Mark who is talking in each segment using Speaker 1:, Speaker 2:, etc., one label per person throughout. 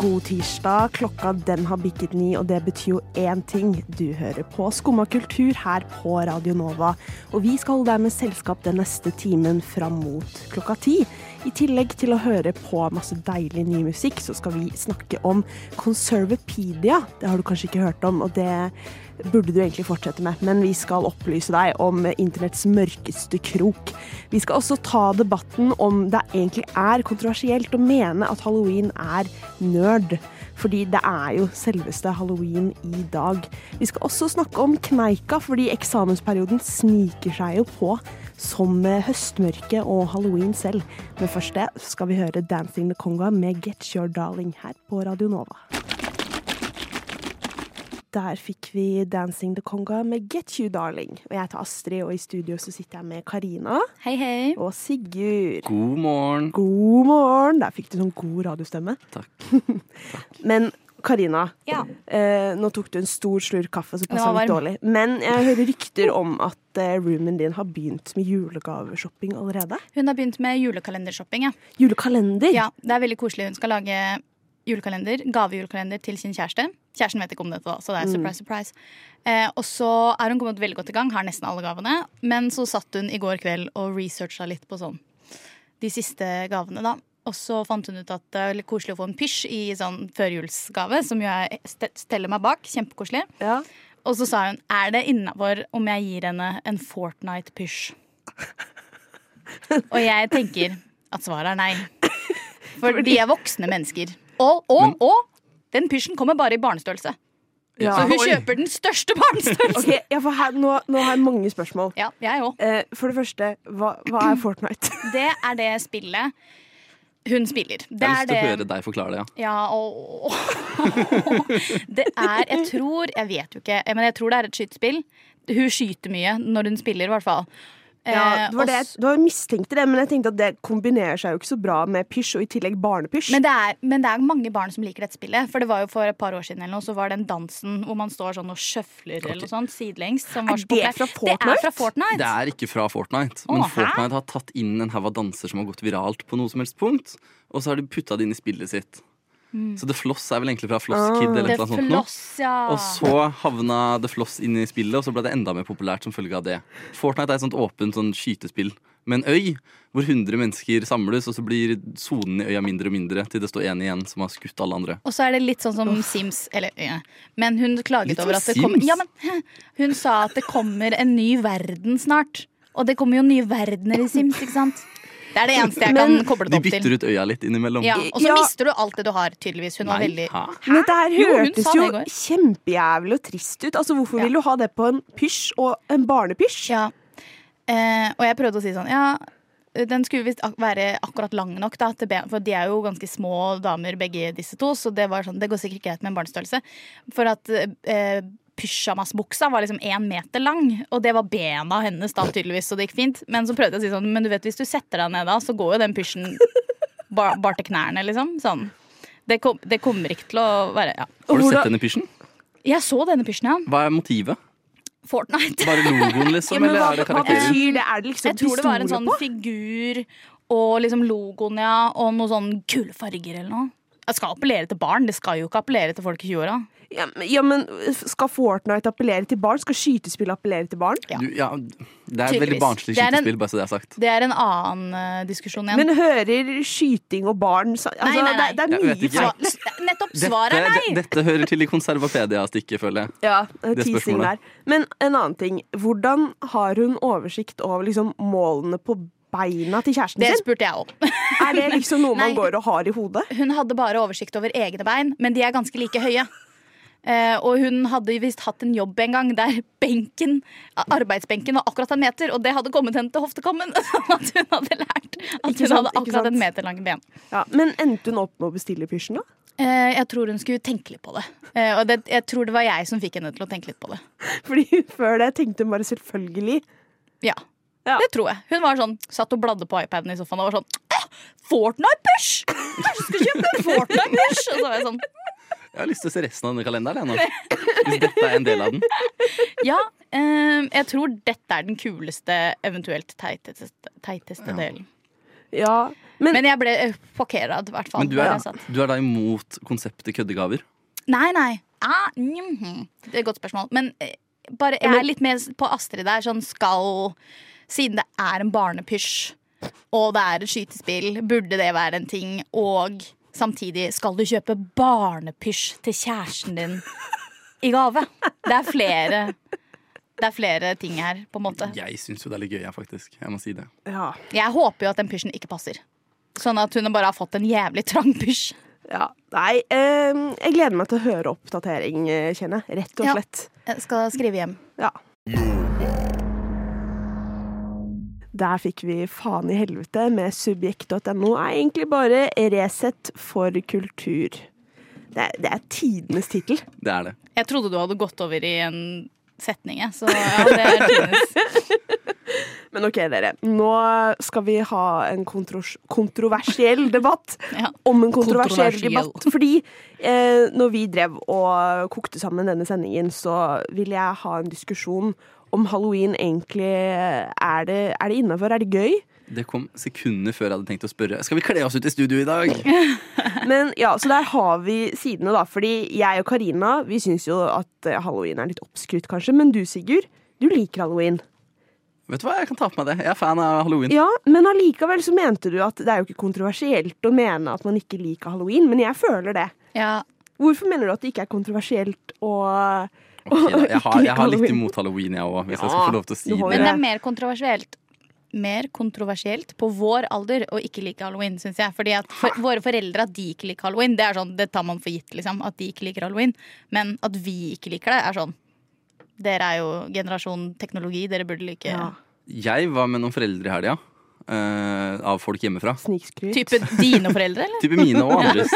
Speaker 1: God tirsdag. Klokka den har bikket ni, og det betyr jo én ting. Du hører på Skumma kultur her på Radio Nova. Og vi skal holde deg med selskap den neste timen fram mot klokka ti. I tillegg til å høre på masse deilig ny musikk, så skal vi snakke om Conservapedia. Det har du kanskje ikke hørt om, og det burde du egentlig fortsette med, men vi skal opplyse deg om internetts mørkeste krok. Vi skal også ta debatten om det egentlig er kontroversielt å mene at halloween er nerd. Fordi det er jo selveste halloween i dag. Vi skal også snakke om kneika, fordi eksamensperioden sniker seg jo på som høstmørket og halloween selv. Men først det skal vi høre Dancing the Conga med Get Your Darling her på Radio Nova. Der fikk vi 'Dancing the Conga' med 'Get You Darling'. Og jeg heter Astrid, og i studio så sitter jeg med Karina
Speaker 2: Hei, hei.
Speaker 1: og Sigurd.
Speaker 3: God morgen.
Speaker 1: God morgen! Der fikk du sånn god radiostemme.
Speaker 3: Takk.
Speaker 1: Men Karina,
Speaker 2: Ja.
Speaker 1: eh, nå tok du en stor slurk kaffe, så passer
Speaker 2: Den var
Speaker 1: litt dårlig. Men jeg hører rykter om at eh, roomien din har begynt med julegaveshopping allerede.
Speaker 2: Hun har begynt med julekalendershopping. Ja.
Speaker 1: Julekalender!
Speaker 2: Ja, det er veldig koselig. Hun skal lage julekalender, gavejulekalender til sin kjæreste. Kjæresten vet ikke om dette, da, så det er surprise, surprise. Eh, og så er hun kommet veldig godt i gang, har nesten alle gavene. Men så satt hun i går kveld og researcha litt på sånn de siste gavene, da. Og så fant hun ut at det er litt koselig å få en pysj i sånn førjulsgave, som jo jeg st- steller meg bak. Kjempekoselig.
Speaker 1: Ja.
Speaker 2: Og så sa hun er det innafor om jeg gir henne en Fortnite-pysj. Og jeg tenker at svaret er nei. For de er voksne mennesker. Og, og, og den pysjen kommer bare i barnestørrelse.
Speaker 1: Ja.
Speaker 2: Så hun
Speaker 3: Oi.
Speaker 2: kjøper den største barnestørrelsen.
Speaker 1: Ok, ja, for her, nå, nå har jeg mange spørsmål.
Speaker 2: Ja, jeg òg.
Speaker 1: Eh, for det første, hva, hva er Fortnite?
Speaker 2: Det er det spillet hun spiller. Det
Speaker 3: Jeg har
Speaker 2: er
Speaker 3: lyst til å
Speaker 2: det-
Speaker 3: høre deg forklare det. ja.
Speaker 2: Ja, og Det er, jeg tror Jeg vet jo ikke, men jeg tror det er et skytespill. Hun skyter mye når hun spiller, i hvert fall.
Speaker 1: Ja,
Speaker 2: Eh,
Speaker 1: det var det
Speaker 2: og
Speaker 1: jeg
Speaker 2: s-
Speaker 1: det var jeg mistenkte det, men jeg tenkte at det kombinerer seg jo ikke så bra med pysj, og i tillegg barnepysj.
Speaker 2: men det, er, men det er mange barn som liker dette spillet. For det var jo for et par år siden eller noe, så var den dansen hvor man står sånn og sjøfler eller noe sånt sidelengs. Som var
Speaker 1: Er
Speaker 2: så
Speaker 1: det
Speaker 2: populær.
Speaker 1: fra
Speaker 2: Det
Speaker 1: Fortnite?
Speaker 2: er fra Fortnite.
Speaker 3: Det er ikke fra Fortnite,
Speaker 2: Å,
Speaker 3: men
Speaker 2: hæ?
Speaker 3: Fortnite har tatt inn en haug av danser som har gått viralt på noe som helst punkt, og så har de putta det inn i spillet sitt. Så The Floss er vel egentlig fra Floss Kid eller et
Speaker 2: Mm.
Speaker 3: eller
Speaker 2: The
Speaker 3: annet sånt noe.
Speaker 2: floss, ah. ja.
Speaker 3: Og så havna The Floss inn i spillet, og så ble det enda mer populært som følge av det. Fortnite er et sånt åpent sånn skytespill med en øy hvor 100 mennesker samles, og så blir sonen i øya mindre og mindre til det står én igjen som har skutt alle andre.
Speaker 2: Og så er det litt sånn som Sims eller, ja. Men hun klaget
Speaker 3: Litt som
Speaker 2: over at det
Speaker 3: Sims?
Speaker 2: kommer ja, men, Hun sa at det kommer en ny verden snart. Og det kommer jo nye verdener i Sims, ikke sant? Det er det eneste jeg
Speaker 1: Men-
Speaker 2: kan koble det
Speaker 3: De
Speaker 2: opp
Speaker 3: bytter
Speaker 2: til.
Speaker 3: ut øya litt innimellom.
Speaker 2: Ja, og så
Speaker 1: Ja.
Speaker 2: mister du alt det du har, tydeligvis. Hun var
Speaker 3: Nei,
Speaker 2: veldig
Speaker 3: hæ?
Speaker 1: Men dette her
Speaker 2: Jo, hun
Speaker 1: hørtes
Speaker 2: sa
Speaker 1: jo,
Speaker 2: det i går.
Speaker 1: kjempejævlig og trist ut. Altså, Hvorfor
Speaker 2: Ja.
Speaker 1: vil du ha det på en pysj og en barnepysj?
Speaker 2: ja. eh, Og jeg prøvde å si sånn Ja, den skulle visst ak være akkurat lang nok, da, til ben, for de er jo ganske små damer, begge disse to. Så det var sånn, det går sikkert greit med en barnestørrelse. For at eh, pysjamasbuksa var liksom én meter lang, og det var bena hennes da, tydeligvis, så det gikk fint. Men så prøvde jeg å si sånn, men du vet, hvis du setter deg ned da, så går jo den pysjen bar, bar til knærne, liksom. Sånn. Det, kom, det kommer ikke til å være ja.
Speaker 3: Har du
Speaker 1: Hvordan-
Speaker 3: sett denne pysjen?
Speaker 2: Jeg så denne pysjen, ja.
Speaker 3: Hva er motivet?
Speaker 2: Fortnite.
Speaker 3: Bare logoen, liksom?
Speaker 1: Ja, men
Speaker 3: eller
Speaker 1: hva,
Speaker 3: er det
Speaker 1: hva
Speaker 3: karakterer?
Speaker 1: betyr det? Er det liksom
Speaker 2: Jeg tror det var en
Speaker 1: pistoler
Speaker 2: sånn
Speaker 1: på?
Speaker 2: figur og liksom logoen, ja, og noen sånn kule farger eller noe. Jeg skal appellere til barn, det skal jo ikke appellere til folk i 20-åra.
Speaker 1: Ja, men- ja, men Skal Fortnite appellere til barn? Skal skytespill appellere til barn?
Speaker 2: Ja.
Speaker 3: Du, ja, det er et veldig
Speaker 2: Tydeligvis.
Speaker 3: barnslig
Speaker 2: Det er en-
Speaker 3: skytespill, bare så det er sagt.
Speaker 2: Det er en annen eh, diskusjon igjen.
Speaker 1: Men hører skyting og barn sa- altså,
Speaker 2: nei, nei.
Speaker 1: Det, det
Speaker 3: Jeg
Speaker 1: er
Speaker 3: vet
Speaker 1: mye
Speaker 3: ikke.
Speaker 1: feil.
Speaker 2: Sva- nett- nettopp
Speaker 3: Dette,
Speaker 2: svaret er
Speaker 3: de-
Speaker 2: nei!
Speaker 3: dette hører til i konservapediastikket, føler jeg.
Speaker 1: Ja,
Speaker 3: Det er
Speaker 1: teasing der.
Speaker 3: spørsmålet.
Speaker 1: Men en annen ting. Hvordan har hun oversikt over liksom, målene på beina til kjæresten
Speaker 2: Det
Speaker 1: sin?
Speaker 2: spurte jeg om.
Speaker 1: Er det liksom noe man
Speaker 2: Nei.
Speaker 1: går og har i hodet?
Speaker 2: Hun hadde bare oversikt over egne bein, men de er ganske like høye. Eh, og hun hadde visst hatt en jobb en gang der benken, arbeidsbenken var akkurat en meter, og det hadde kommet henne til hoftekammen. Sånn At hun hadde lært at
Speaker 1: Ikke
Speaker 2: hun
Speaker 1: sant,
Speaker 2: hadde
Speaker 1: ikke sant.
Speaker 2: akkurat en meter lange ben.
Speaker 1: Ja, men endte hun opp med å bestille pysjen, da?
Speaker 2: Eh, jeg tror hun skulle tenke litt på det. Eh, og det, jeg tror det var jeg som fikk henne til å tenke litt på det.
Speaker 1: Fordi før det tenkte hun bare selvfølgelig.
Speaker 2: Ja,
Speaker 1: Ja.
Speaker 2: det tror jeg. Hun var sånn, satt og bladde på iPaden i sofaen og var sånn «Åh, Fortnite-pysj! Kanskje du skal kjøpe en Fortnite-pysj! Og så var jeg sånn
Speaker 3: Jeg har lyst til å se resten av denne kalenderen. Jeg, nå. Hvis dette er en del av den.
Speaker 2: Ja, eh, jeg tror dette er den kuleste, eventuelt teiteste, teiteste
Speaker 3: Ja.
Speaker 2: delen.
Speaker 1: Ja, men,
Speaker 2: Men jeg ble eh, sjokkert, i hvert fall.
Speaker 3: Men du
Speaker 2: da
Speaker 3: er,
Speaker 2: jeg satt.
Speaker 3: du er da imot konseptet køddegaver?
Speaker 2: Nei, nei. Ah, mhm. Det er et godt spørsmål. Men eh, bare, jeg er litt mer på Astrid der. Sånn skal Siden det er en barnepysj, og det er et skytespill, burde det være en ting? Og samtidig, skal du kjøpe barnepysj til kjæresten din i gave? Det er flere Det er flere ting her, på en måte.
Speaker 3: Jeg syns jo det er litt gøy, jeg, faktisk. Jeg må si det.
Speaker 1: ja,
Speaker 2: Jeg håper jo at den pysjen ikke passer. Sånn at hun bare har fått en jævlig trang pysj.
Speaker 1: ja. Nei, eh, jeg gleder meg til å høre oppdatering, eh, kjenner jeg. Rett og
Speaker 2: Ja.
Speaker 1: slett.
Speaker 2: Jeg skal skrive hjem.
Speaker 1: Ja. Der fikk vi Faen i helvete med subjekt.no er egentlig bare Resett for kultur. Det er, det er tidenes tittel.
Speaker 3: Det er det.
Speaker 2: Jeg trodde du hadde gått over i en setning, jeg. Så ja, det er tidenes.
Speaker 1: Men OK, dere. Nå skal vi ha en kontros kontroversiell debatt
Speaker 2: Ja.
Speaker 1: om en kontroversiell
Speaker 2: Kontroversiell.
Speaker 1: debatt. Fordi eh, når vi drev og kokte sammen denne sendingen, så ville jeg ha en diskusjon om halloween egentlig Er det, er det innafor? Er det gøy?
Speaker 3: Det kom sekunder før jeg hadde tenkt å spørre Skal vi kle oss ut i studio i dag.
Speaker 1: Men ja, så der har vi sidene, da. Fordi jeg og Karina vi syns jo at eh, halloween er litt oppskrytt, kanskje. Men du, Sigurd, du liker halloween.
Speaker 3: Vet du hva, jeg kan ta på meg det. Jeg er fan av halloween.
Speaker 1: Ja, Men allikevel så mente du at det er jo ikke kontroversielt å mene at man ikke liker halloween. Men jeg føler det.
Speaker 2: Ja.
Speaker 1: Hvorfor mener du at det ikke er kontroversielt å
Speaker 3: Ok, da.
Speaker 1: ikke
Speaker 3: jeg, har, jeg har litt
Speaker 1: halloween.
Speaker 3: imot halloween, jeg òg, hvis jeg
Speaker 1: Ja,
Speaker 3: skal få lov til å
Speaker 1: du
Speaker 3: si
Speaker 1: har
Speaker 3: det.
Speaker 2: Men det er mer kontroversielt. Mer kontroversielt på vår alder å ikke like halloween, syns jeg. Fordi at for, våre foreldre at de ikke liker halloween, det er sånn, det tar man for gitt, liksom. At de ikke liker halloween. Men at vi ikke liker det, er sånn. Dere er jo generasjon teknologi, dere burde like
Speaker 1: ja.
Speaker 3: Jeg var med noen foreldre i helga. eh, av folk hjemmefra.
Speaker 1: snikskryt?
Speaker 2: Type dine foreldre, eller?
Speaker 3: Type mine og andres.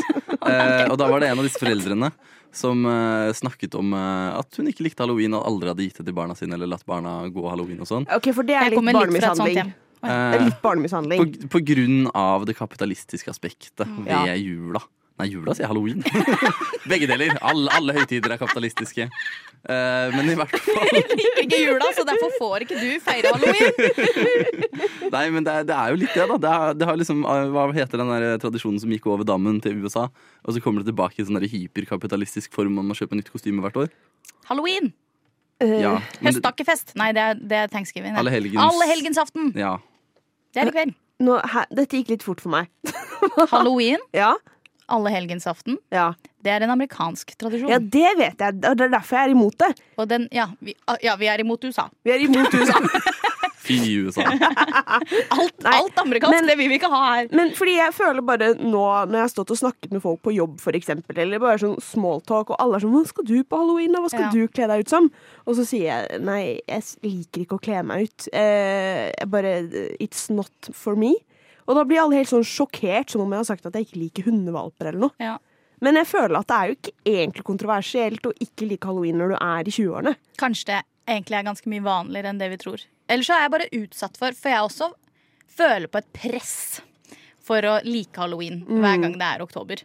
Speaker 3: Eh, og da var det en av disse foreldrene som eh, snakket om eh, at hun ikke likte halloween og aldri hadde gitt det til barna sine eller latt barna gå halloween og sånn.
Speaker 1: OK, for det er
Speaker 2: Jeg
Speaker 1: litt
Speaker 2: kommer litt fra et sånt
Speaker 1: barnemishandling.
Speaker 2: hjem. Oi.
Speaker 1: Det er
Speaker 3: Eh,
Speaker 1: litt barnemishandling.
Speaker 3: på, på grunn av det kapitalistiske aspektet
Speaker 1: Ja.
Speaker 3: ved jula. Nei, jula sier jeg halloween. Begge deler. Alle, alle høytider er kapitalistiske. Eh, men i hvert fall
Speaker 2: Liker ikke jula, så derfor får ikke du feire halloween.
Speaker 3: Nei, men det er, det er jo litt det, da. Det, er, det har liksom, eh, Hva heter den der tradisjonen som gikk over dammen til USA? Og så kommer det tilbake i sånn der hyperkapitalistisk form, man må kjøpe nytt kostyme hvert år.
Speaker 2: Halloween!
Speaker 1: Eh,
Speaker 3: Ja, men det,
Speaker 2: Høsttakkefest. Nei, det er, det er thanksgiving. det.
Speaker 3: Allehelgens-
Speaker 2: Allehelgensaften.
Speaker 3: ja.
Speaker 2: Det er i kveld.
Speaker 1: nå, her, dette gikk litt fort for meg.
Speaker 2: Halloween,
Speaker 1: Ja,
Speaker 2: allehelgensaften,
Speaker 1: ja.
Speaker 2: det er en amerikansk tradisjon.
Speaker 1: ja, det vet jeg. og Det er derfor jeg er imot det.
Speaker 2: Og den, ja, vi, ah, ja, vi er imot USA.
Speaker 1: Vi er imot USA.
Speaker 3: Fy USA.
Speaker 2: Alt,
Speaker 1: Nei,
Speaker 2: alt amerikansk,
Speaker 1: men-
Speaker 2: det vil vi ikke ha her.
Speaker 1: Men fordi jeg føler bare nå når jeg har stått og snakket med folk på jobb, for eksempel, eller bare sånn smalltalk, og alle er sånn 'Hva skal du på halloween, da? Hva skal
Speaker 2: Ja.
Speaker 1: du kle deg ut som?' Og så sier jeg 'Nei, jeg s- liker ikke å kle meg ut'. Eh, jeg bare It's not for me. Og da blir alle helt sånn sjokkert, som om jeg har sagt at jeg ikke liker hundevalper eller noe.
Speaker 2: Ja.
Speaker 1: Men jeg føler at det er jo ikke egentlig kontroversielt å ikke like halloween når du er i 20-årene.
Speaker 2: Kanskje det egentlig er ganske mye vanligere enn det vi tror. Eller så er jeg bare utsatt for, for jeg også føler på et press for å like halloween hver
Speaker 1: Mm.
Speaker 2: gang det er oktober.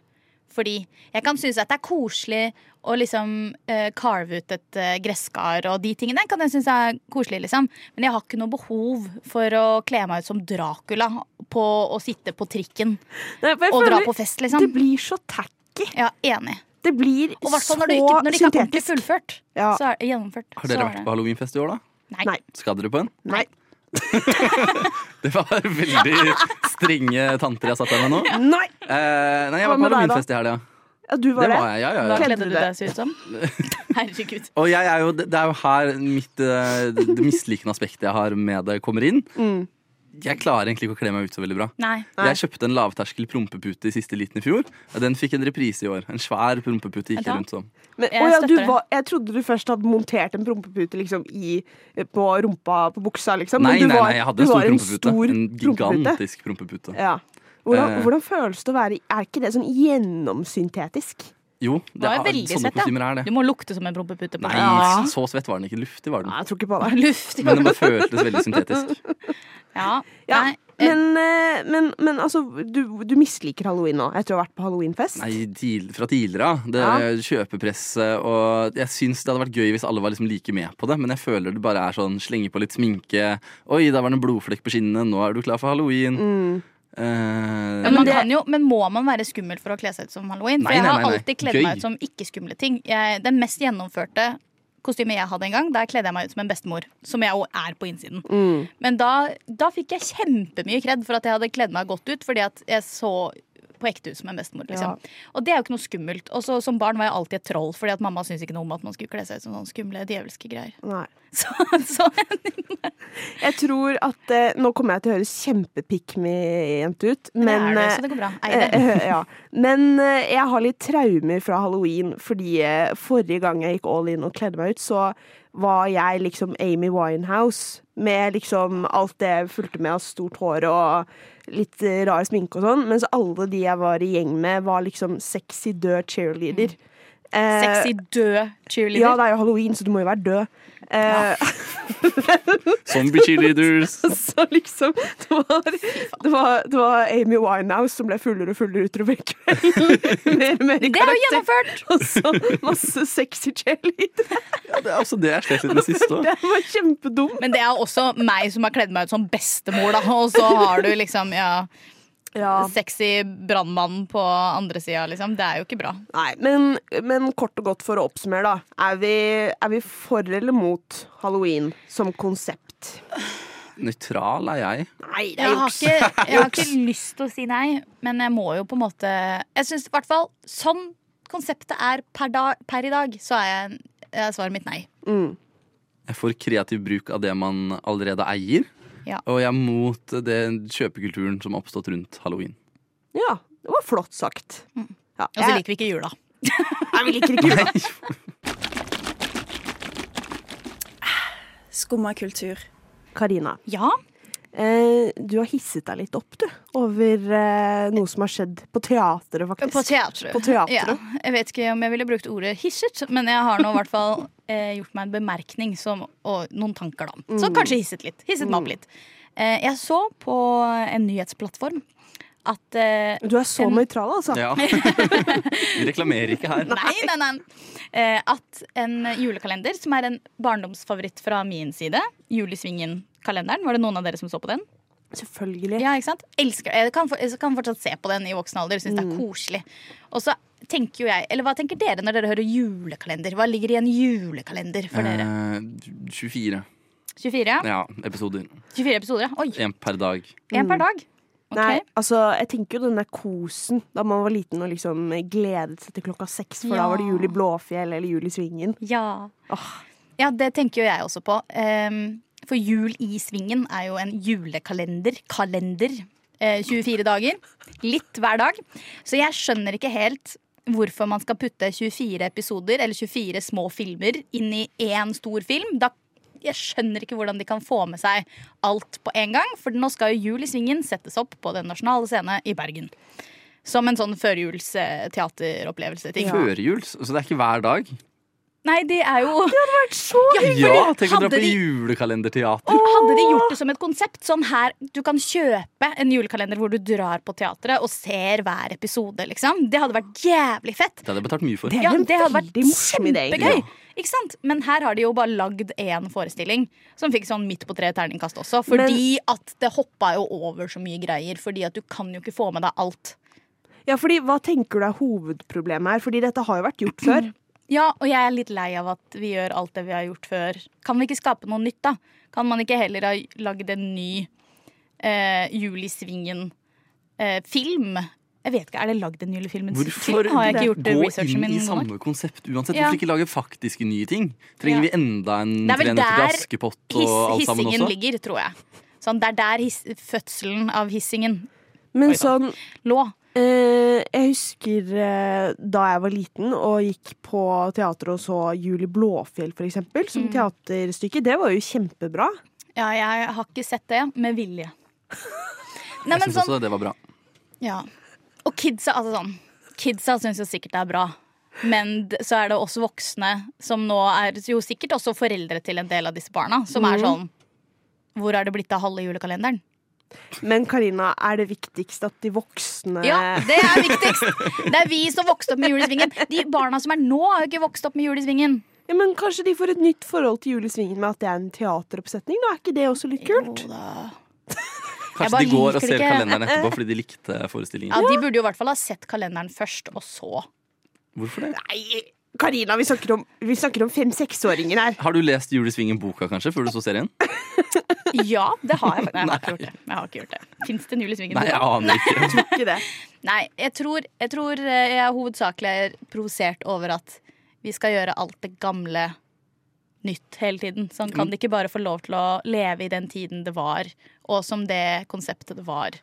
Speaker 2: Fordi jeg kan synes at det er koselig å liksom eh, carve ut et eh, gresskar og de tingene. kan jeg synes er koselig, liksom. Men jeg har ikke noe behov for å kle meg ut som Dracula på å sitte på trikken
Speaker 1: Nei, for jeg
Speaker 2: og dra
Speaker 1: føler
Speaker 2: på fest,
Speaker 1: Det
Speaker 2: liksom.
Speaker 1: blir så tacky.
Speaker 2: Ja, enig.
Speaker 1: Det blir så
Speaker 2: Og i hvert fall når det ikke, når det ikke er ordentlig
Speaker 1: syntetisk.
Speaker 2: fullført.
Speaker 1: Ja.
Speaker 2: Så er det gjennomført.
Speaker 3: Har dere
Speaker 2: så
Speaker 3: vært
Speaker 2: er
Speaker 3: på halloweenfest i år, da?
Speaker 2: det. Nei.
Speaker 1: Nei.
Speaker 3: Skal dere på en?
Speaker 1: Nei.
Speaker 3: Det var veldig strenge tanter jeg satt der med nå.
Speaker 1: Nei.
Speaker 3: Eh, nei, jeg
Speaker 1: Hva
Speaker 3: var på
Speaker 1: med deg, da?
Speaker 3: halloweenfest i helga.
Speaker 1: Ja, du var
Speaker 3: Det
Speaker 1: det.
Speaker 3: var jeg, ja, ja,
Speaker 2: Hva
Speaker 1: Kledde
Speaker 3: ja.
Speaker 2: kledde
Speaker 1: du
Speaker 2: du
Speaker 1: deg?
Speaker 2: deg så ut som? Herregud.
Speaker 3: Og jeg er jo, det det er jo her mitt, eh, det mislikende aspektet jeg har med det, kommer inn.
Speaker 1: Mm.
Speaker 3: Jeg klarer egentlig ikke å kle meg ut så veldig bra.
Speaker 2: Nei.
Speaker 3: Jeg kjøpte en lavterskel prompepute i siste liten i fjor. og Den fikk en reprise i år. En svær prompepute gikk
Speaker 2: Ja.
Speaker 3: jeg rundt som.
Speaker 1: Men,
Speaker 2: Jeg
Speaker 1: å ja,
Speaker 2: støtter
Speaker 1: du
Speaker 2: det.
Speaker 1: var, jeg trodde du først hadde montert en prompepute liksom, i, på rumpa på buksa, liksom.
Speaker 3: Nei,
Speaker 1: du
Speaker 3: nei,
Speaker 1: var-
Speaker 3: nei, jeg hadde en
Speaker 1: du
Speaker 3: stor
Speaker 1: var
Speaker 3: prompepute.
Speaker 1: stor
Speaker 3: En
Speaker 1: prompepute.
Speaker 3: gigantisk prompepute.
Speaker 1: Ja. Hvordan,
Speaker 3: Eh.
Speaker 1: hvordan føles det å være Er ikke det sånn gjennomsyntetisk?
Speaker 3: Jo,
Speaker 2: Det
Speaker 3: det
Speaker 2: var
Speaker 3: er,
Speaker 2: veldig
Speaker 3: sånne
Speaker 2: svett,
Speaker 3: kostymer er
Speaker 2: ja. Du
Speaker 3: det.
Speaker 2: må lukte som en prompepute. på
Speaker 3: Nei,
Speaker 2: deg.
Speaker 3: så svett var den ikke. Luftig var den.
Speaker 1: Nei, jeg tror ikke på det.
Speaker 2: Luft.
Speaker 3: Men det bare føltes veldig syntetisk.
Speaker 2: Ja.
Speaker 1: Ja.
Speaker 2: Nei.
Speaker 1: Men, eh, men, men altså, du, du misliker halloween nå etter å ha vært på halloweenfest?
Speaker 3: Nei, til, fra tidligere av. Det
Speaker 1: Ja.
Speaker 3: kjøpepresset og Jeg syns det hadde vært gøy hvis alle var liksom like med på det, men jeg føler det bare er sånn slenge på litt sminke. Oi, der var det en blodflekk på skinnet. Nå er du klar for halloween.
Speaker 1: Mm.
Speaker 3: Eh,
Speaker 2: Men, man
Speaker 1: det-
Speaker 2: kan jo, men må man være skummel for å kle seg ut som halloween? For
Speaker 3: Nei,
Speaker 2: jeg
Speaker 3: nei,
Speaker 2: har
Speaker 3: nei, nei.
Speaker 2: alltid kledd
Speaker 3: Gøy.
Speaker 2: meg ut som ikke-skumle ting. Jeg, den mest gjennomførte kostymet jeg hadde en gang, der kledde jeg meg ut som en bestemor. Som jeg jo er på innsiden.
Speaker 1: Mm.
Speaker 2: Men da, da fikk jeg kjempemye kred for at jeg hadde kledd meg godt ut, fordi at jeg så på ekte ut som en bestemor. Liksom. Og det er jo ikke noe skummelt. Og så som barn var jeg alltid et troll, fordi at mamma syntes ikke noe om at man skulle kle seg ut som sånne skumle djevelske greier.
Speaker 1: Nei.
Speaker 2: Så, så
Speaker 1: Jeg tror at eh, Nå kommer jeg til å høres kjempepikmi-jent ut,
Speaker 2: det
Speaker 1: men
Speaker 2: er det,
Speaker 1: eh,
Speaker 2: så det går bra. Ei, det.
Speaker 1: Eh, ja. Men eh, jeg har litt traumer fra halloween, fordi eh, forrige gang jeg gikk all in og kledde meg ut, så var jeg liksom Amy Winehouse. Med liksom alt det jeg fulgte med av stort hår og litt eh, rar sminke og sånn. Mens alle de jeg var i gjeng med, var liksom sexy, død cheerleader. Eh,
Speaker 2: Mm. Sexy, død
Speaker 1: Ja,
Speaker 2: cheerleader.
Speaker 1: det er jo halloween, så du må jo være død. Eh,
Speaker 3: zombie cheerleaders.
Speaker 1: Så liksom det var, det, var, det var Amy Winehouse som ble fullere og fullere utover kvelden. Mer og mer i
Speaker 2: det er jo
Speaker 1: karakter.
Speaker 2: gjennomført!
Speaker 1: Og så masse sexy cheerleader.
Speaker 3: Ja, det er også det jeg slet litt med sist òg.
Speaker 1: Det var kjempedum.
Speaker 2: Men det er også meg som har kledd meg ut som bestemor, da. Og så har du liksom ja, sexy brannmann på andre sida, liksom. Det er jo ikke bra.
Speaker 1: Nei, men, men kort og godt for å oppsummere, da. Er vi, er vi for eller mot halloween som konsept?
Speaker 3: Nøytral er jeg.
Speaker 1: Nei, det
Speaker 2: Jeg
Speaker 1: er
Speaker 2: har,
Speaker 1: juks.
Speaker 2: ikke, jeg har ikke lyst til å si nei, men jeg må jo på en måte Jeg syns i hvert fall sånn konseptet er per, da, per i dag, så er jeg er svaret mitt nei.
Speaker 3: Jeg får kreativ bruk av det man allerede eier.
Speaker 2: Ja.
Speaker 3: Og jeg er mot det kjøpekulturen som har oppstått rundt halloween.
Speaker 1: Ja, det var flott sagt. Ja,
Speaker 2: Og så
Speaker 1: jeg,
Speaker 2: Mm. liker vi ikke jula.
Speaker 1: jeg, vi liker ikke jula.
Speaker 4: Skumma kultur.
Speaker 1: Karina,
Speaker 2: Ja,
Speaker 1: eh, du har hisset deg litt opp, du. Over eh, noe som har skjedd på teatret, faktisk.
Speaker 2: på teatret.
Speaker 1: På teatret.
Speaker 2: Ja. Jeg vet ikke om jeg ville brukt ordet hisset, men jeg har nå i hvert fall eh, gjort meg en bemerkning som, og noen tanker, da.
Speaker 1: Mm.
Speaker 2: Så kanskje hisset litt. Hisset meg opp litt. Eh, jeg så på en nyhetsplattform at eh,
Speaker 1: Du er så
Speaker 2: En-
Speaker 1: nøytral, altså.
Speaker 3: Ja. Vi reklamerer ikke her.
Speaker 2: Nei, nei, nei. Eh, at en julekalender, som er en barndomsfavoritt fra min side, Julesvingen-kalenderen, var det noen av dere som så på den?
Speaker 1: Selvfølgelig.
Speaker 2: Ja, ikke sant? Elsker, jeg, kan, for- jeg kan fortsatt se på den i voksen alder. Syns det
Speaker 3: Mm.
Speaker 2: er koselig. Og så tenker jo jeg, eller Hva tenker dere når dere hører julekalender? Hva ligger i en julekalender for dere?
Speaker 3: Eh, 24
Speaker 2: 24?
Speaker 3: ja, episoder.
Speaker 2: 24 episoder, ja. Oi!
Speaker 3: Én per dag.
Speaker 2: Én per dag. Ok.
Speaker 1: Nei, altså, jeg tenker jo den der kosen da man var liten og liksom gledet seg til klokka seks, for da
Speaker 2: Ja.
Speaker 1: var det jul i Blåfjell eller jul i Svingen.
Speaker 2: Ja.
Speaker 1: Åh.
Speaker 2: ja, det tenker jo jeg også på. Ehm, for Jul i Svingen er jo en julekalender. Kalender. eh, 24 dager. Litt hver dag. Så jeg skjønner ikke helt hvorfor man skal putte 24 episoder eller 24 små filmer inn i én stor film. Da jeg skjønner ikke hvordan de kan få med seg alt på en gang. For nå skal jo Jul i Svingen settes opp på Den nasjonale scene i Bergen. Som en sånn førjulsteateropplevelse-ting.
Speaker 3: Førjuls, så det er ikke hver dag.
Speaker 2: Nei, de er jo
Speaker 3: Ja, tenk å dra
Speaker 2: Hadde
Speaker 3: på
Speaker 2: de-
Speaker 3: julekalenderteater.
Speaker 2: Hadde de gjort det som et konsept, sånn her Du kan kjøpe en julekalender hvor du drar på teatret og ser hver episode, liksom. Det hadde vært jævlig fett.
Speaker 3: Det hadde jeg betalt mye for.
Speaker 1: Det er
Speaker 2: Ja,
Speaker 1: en
Speaker 2: det hadde vært
Speaker 1: veldig morsom idé, egentlig.
Speaker 2: kjempegøy. Ikke sant? Men her har de jo bare lagd én forestilling som fikk sånn midt på tre terningkast også. Fordi at det hoppa jo over så mye greier. Fordi at du kan jo ikke få med deg alt.
Speaker 1: Ja, fordi hva tenker du er hovedproblemet her? Fordi dette har jo vært gjort før.
Speaker 2: Ja, og jeg er litt lei av at vi gjør alt det vi har gjort før. Kan vi ikke skape noe nytt, da? Kan man ikke heller ha lagd en ny eh, Julisvingen-film? jeg vet ikke, Er det lagd en julefilm?
Speaker 3: Hvorfor
Speaker 2: Har jeg ikke gjort eh,
Speaker 3: gå
Speaker 2: researchen
Speaker 3: inn
Speaker 2: min
Speaker 3: i
Speaker 2: god nok?
Speaker 3: samme konsept uansett?
Speaker 2: Ja.
Speaker 3: Hvorfor ikke lage faktiske nye ting? Trenger
Speaker 2: Ja.
Speaker 3: vi enda en
Speaker 2: Det er vel
Speaker 3: 300 til
Speaker 2: der
Speaker 3: Askepott og
Speaker 2: Hiss,
Speaker 3: alt sammen
Speaker 2: hissingen
Speaker 3: også?
Speaker 2: ligger, tror jeg. Sånn, Det er der his, fødselen av hissingen
Speaker 1: Men
Speaker 2: Oi, da.
Speaker 1: sånn,
Speaker 2: lå.
Speaker 1: eh, jeg husker eh, da jeg var liten og gikk på teater og så Jul i Blåfjell, for eksempel, som teaterstykke. Det var jo kjempebra.
Speaker 2: Ja, jeg har ikke sett det med vilje. Nei, men
Speaker 3: Jeg syns
Speaker 2: sånn,
Speaker 3: også det var bra.
Speaker 2: Ja. Og kidsa, altså sånn Kidsa syns jo sikkert det er bra. Men d- så er det oss voksne, som nå er jo sikkert Mm. også foreldre til en del av disse barna, som er sånn Hvor er det blitt av halve julekalenderen?
Speaker 1: Men Karina, er det viktigst at de voksne
Speaker 2: Ja, det er viktigst! Det er vi som vokste opp med Jul i Svingen. De barna som er nå, har jo ikke vokst opp med Jul i Svingen.
Speaker 1: Ja, Men kanskje de får et nytt forhold til Julesvingen med at det er en teateroppsetning? Da er ikke det også litt kult?
Speaker 2: Jo da. Jeg
Speaker 3: Kanskje
Speaker 2: bare
Speaker 3: de går og
Speaker 2: liker det
Speaker 3: ser
Speaker 2: ikke.
Speaker 3: kalenderen etterpå fordi de likte forestillingen.
Speaker 2: Ja, De burde jo i hvert fall ha sett kalenderen først, og så.
Speaker 3: Hvorfor det?
Speaker 1: Nei, Karina, vi snakker om, vi snakker om fem-seksåringer her.
Speaker 3: Har du lest Julesvingen-boka kanskje før du så serien?
Speaker 2: Ja, det har jeg. Nei, jeg har ikke gjort det. Jeg har ikke gjort det. Fins det en Jul i Svingen?
Speaker 3: Nei, jeg aner ikke.
Speaker 1: Ikke det.
Speaker 2: Nei, jeg tror, jeg tror eh, jeg er hovedsakelig er provosert over at vi skal gjøre alt det gamle nytt hele tiden. Sånn kan de ikke bare få lov til å leve i den tiden det var, og som det konseptet det var.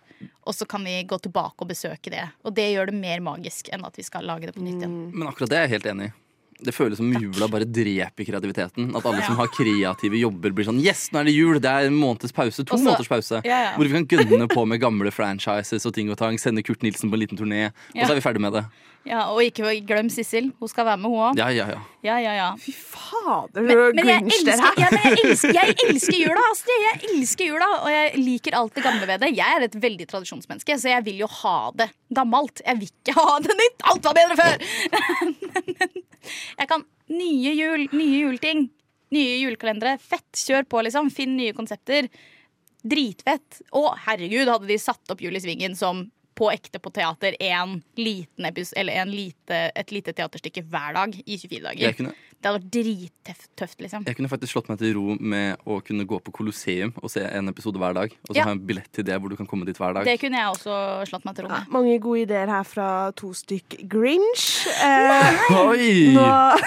Speaker 2: Og så kan vi gå tilbake og besøke det. Og det gjør det mer magisk enn at vi skal lage det på nytt igjen.
Speaker 3: Men akkurat det er jeg helt enig i. Det føles som jula bare dreper kreativiteten. At alle som har kreative jobber, blir sånn Yes, nå er det jul! Det er en måneds pause. To
Speaker 2: Og så-
Speaker 3: måneders pause.
Speaker 2: Ja, ja.
Speaker 3: Hvor vi kan gønne på med gamle franchises og ting og tang. Sende Kurt Nilsen på en liten turné, og
Speaker 2: Ja.
Speaker 3: så er vi ferdig med det.
Speaker 2: Ja, Og ikke glem Sissel. Hun skal være med, hun òg.
Speaker 3: Ja, ja, ja.
Speaker 2: Ja, ja, ja.
Speaker 1: Fy fader,
Speaker 2: Men,
Speaker 1: så
Speaker 2: men jeg
Speaker 1: grinch
Speaker 2: elsker,
Speaker 1: dere her.
Speaker 2: ja, men jeg elsker, jeg elsker jula, Astrid. Jeg elsker jula, og jeg liker alt det gamle ved det. Jeg er et veldig tradisjonsmenneske, så jeg vil jo ha det gammelt. Jeg vil ikke ha det nytt. Alt var bedre før! Jeg kan nye jul, nye juleting. Nye julekalendere. Fett, kjør på, liksom. Finn nye konsepter. Dritfett. Å, herregud, hadde de satt opp Jul i Svingen som på ekte på teater en liten epis, eller en lite, et lite teaterstykke hver dag i 24 dager.
Speaker 3: Jeg kunne,
Speaker 2: Det hadde vært drittøft, tøft, liksom.
Speaker 3: jeg kunne faktisk slått meg til ro med å kunne gå på Colosseum og se en episode hver dag. Og så
Speaker 2: Ja.
Speaker 3: ha en billett til det hvor du kan komme dit hver dag.
Speaker 2: Det kunne jeg også slått meg til ro med.
Speaker 1: Mange gode ideer her fra to stykk Grinch. Eh,
Speaker 3: Oi!
Speaker 1: nå,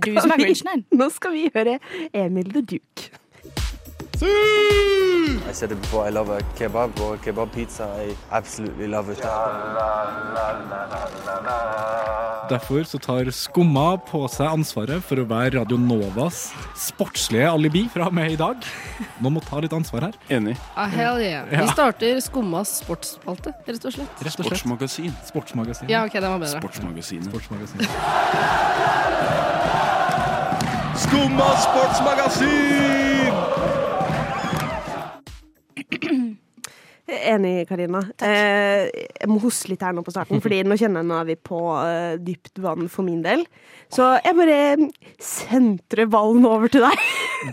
Speaker 2: Du som er
Speaker 1: vi-
Speaker 2: grinchen her.
Speaker 1: nå skal vi høre Emil the Duke.
Speaker 4: I said it before, I love a kebab or a kebab pizza. I absolutely love it.
Speaker 5: Derfor så tar Skumma på seg ansvaret for å være Radio Novas sportslige alibi fra og med i dag. Noen må ta litt ansvar her.
Speaker 6: Enig.
Speaker 7: Ah, hell yeah. Vi starter Skummas sportsspalte, rett og slett.
Speaker 5: Rett og slett.
Speaker 6: Sportsmagasin.
Speaker 5: Sportsmagasin.
Speaker 7: Ja, ok, den var bedre.
Speaker 6: Sportsmagasinet.
Speaker 5: Sportsmagasin.
Speaker 6: Skumma sportsmagasin!
Speaker 1: Enig, Karina. Eh, jeg må hoste litt her nå på starten, Fordi nå kjenner jeg nå er vi på eh, dypt vann for min del. Så jeg bare sentrer ballen over til deg.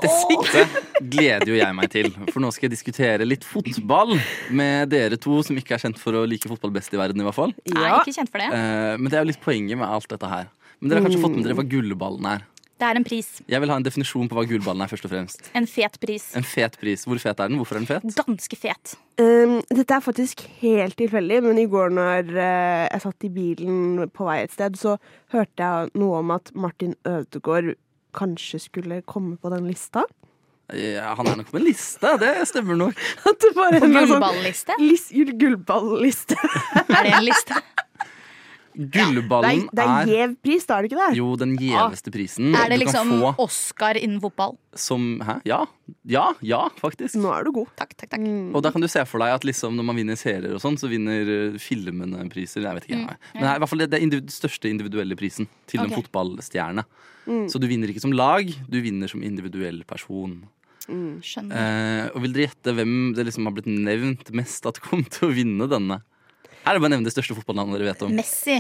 Speaker 3: Det siktet gleder jo jeg meg til, for nå skal jeg diskutere litt fotball med dere to som ikke er kjent for å like fotball best i verden, i hvert fall.
Speaker 2: Nei,
Speaker 1: Ja.
Speaker 2: ikke kjent for det.
Speaker 3: Eh, Men det er jo litt poenget med alt dette her. Men dere har kanskje fått med dere
Speaker 1: Mm.
Speaker 3: hva gullballen er.
Speaker 2: Det er en pris.
Speaker 3: Jeg vil ha en definisjon på hva gullballen er, først og fremst.
Speaker 2: En fet pris.
Speaker 3: En fet pris. Hvor fet er den? Hvorfor er den fet?
Speaker 2: Ganske fet.
Speaker 1: Um, dette er faktisk helt tilfeldig, men i går når eh, jeg satt i bilen på vei et sted, så hørte jeg noe om at Martin Ødegaard kanskje skulle komme på den lista.
Speaker 3: Ja, han er nok på en liste, det stemmer nok.
Speaker 1: At det bare
Speaker 2: På
Speaker 1: en sånn
Speaker 2: gullballliste.
Speaker 1: lis- jul- Gullballliste.
Speaker 2: Er det en liste?
Speaker 1: Det
Speaker 3: Gullballen
Speaker 1: er- det er Ah.
Speaker 3: er
Speaker 1: gjev pris, da er det ikke det?
Speaker 3: jo den gjeveste prisen
Speaker 2: Er det
Speaker 3: du kan
Speaker 2: liksom
Speaker 3: få
Speaker 2: Oscar innen fotball?
Speaker 3: som Hæ? Ja. Ja, ja, faktisk.
Speaker 1: Nå er du god.
Speaker 2: Takk, takk, takk.
Speaker 3: Og da kan du se for deg at liksom når man vinner serier og sånn, så vinner eh, filmene priser. Jeg vet ikke,
Speaker 1: Mm.
Speaker 3: nei. Men det er i hvert fall det, det er individ, største individuelle prisen til en
Speaker 2: Ok.
Speaker 3: fotballstjerne.
Speaker 1: Mm.
Speaker 3: Så du vinner ikke som lag, du vinner som individuell person.
Speaker 2: Skjønner.
Speaker 3: Eh, og vil dere gjette hvem det liksom har blitt nevnt mest at kom til å vinne denne? Her er det bare å nevne det største fotballnavnet dere vet om.
Speaker 2: Messi.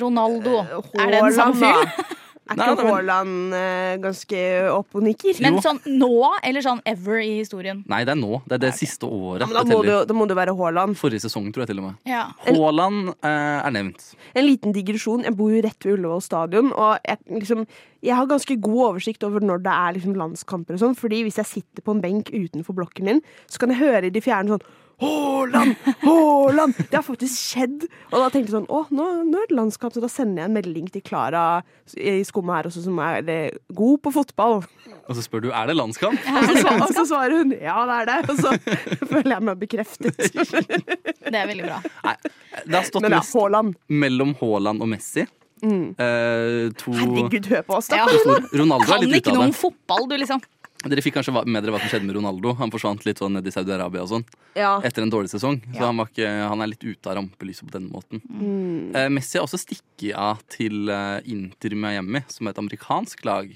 Speaker 2: Ronaldo.
Speaker 3: Eh,
Speaker 2: Er det en samme
Speaker 1: Haaland, da.
Speaker 2: fyr?
Speaker 1: Er
Speaker 3: Nei,
Speaker 1: ikke
Speaker 3: nei, men-
Speaker 1: Haaland eh, ganske opp og nikker?
Speaker 2: Men sånn nå, eller sånn ever i historien?
Speaker 3: Nei, det er nå. Det er det siste året.
Speaker 1: Ja, men da,
Speaker 3: det
Speaker 1: må det,
Speaker 3: teller.
Speaker 1: jo- da må det være Haaland.
Speaker 3: Forrige sesong, tror jeg til og med.
Speaker 2: Ja.
Speaker 3: Haaland eh, er nevnt.
Speaker 1: En liten digresjon. Jeg bor jo rett ved Ullevål stadion, og jeg, liksom, jeg har ganske god oversikt over når det er liksom, landskamper og sånn, fordi hvis jeg sitter på en benk utenfor blokken min, så kan jeg høre i de fjerne sånn Haaland! Haaland! Det har faktisk skjedd. Og da tenkte jeg sånn Å, nå, nå er det landskamp, så da sender jeg en melding til Klara i skummet her også, som er eh, god på fotball.
Speaker 3: Og så spør du er det landskamp.
Speaker 1: Og så, svar- og så svarer hun ja, det er det. Og så føler jeg meg bekreftet.
Speaker 2: Det er veldig bra.
Speaker 3: Nei, det har stått
Speaker 1: Men ja,
Speaker 3: mest
Speaker 1: Haaland.
Speaker 3: mellom Haaland og Messi. Eh, to
Speaker 1: Herregud, hør på oss, da.
Speaker 2: Ja.
Speaker 3: Ronaldo er
Speaker 2: Kan
Speaker 3: litt
Speaker 2: ikke
Speaker 3: ute
Speaker 2: noe
Speaker 3: av
Speaker 2: om
Speaker 3: det.
Speaker 2: fotball, du, liksom.
Speaker 3: Dere fikk kanskje med dere hva som skjedde med Ronaldo. Han forsvant litt sånn ned i Saudi-Arabia og sånn
Speaker 1: Ja.
Speaker 3: etter en dårlig sesong. Så han, var ikke, han er litt ute av rampelyset på den måten. Eh, Messi har også stikket av til eh, Inter Miami, som er et amerikansk lag.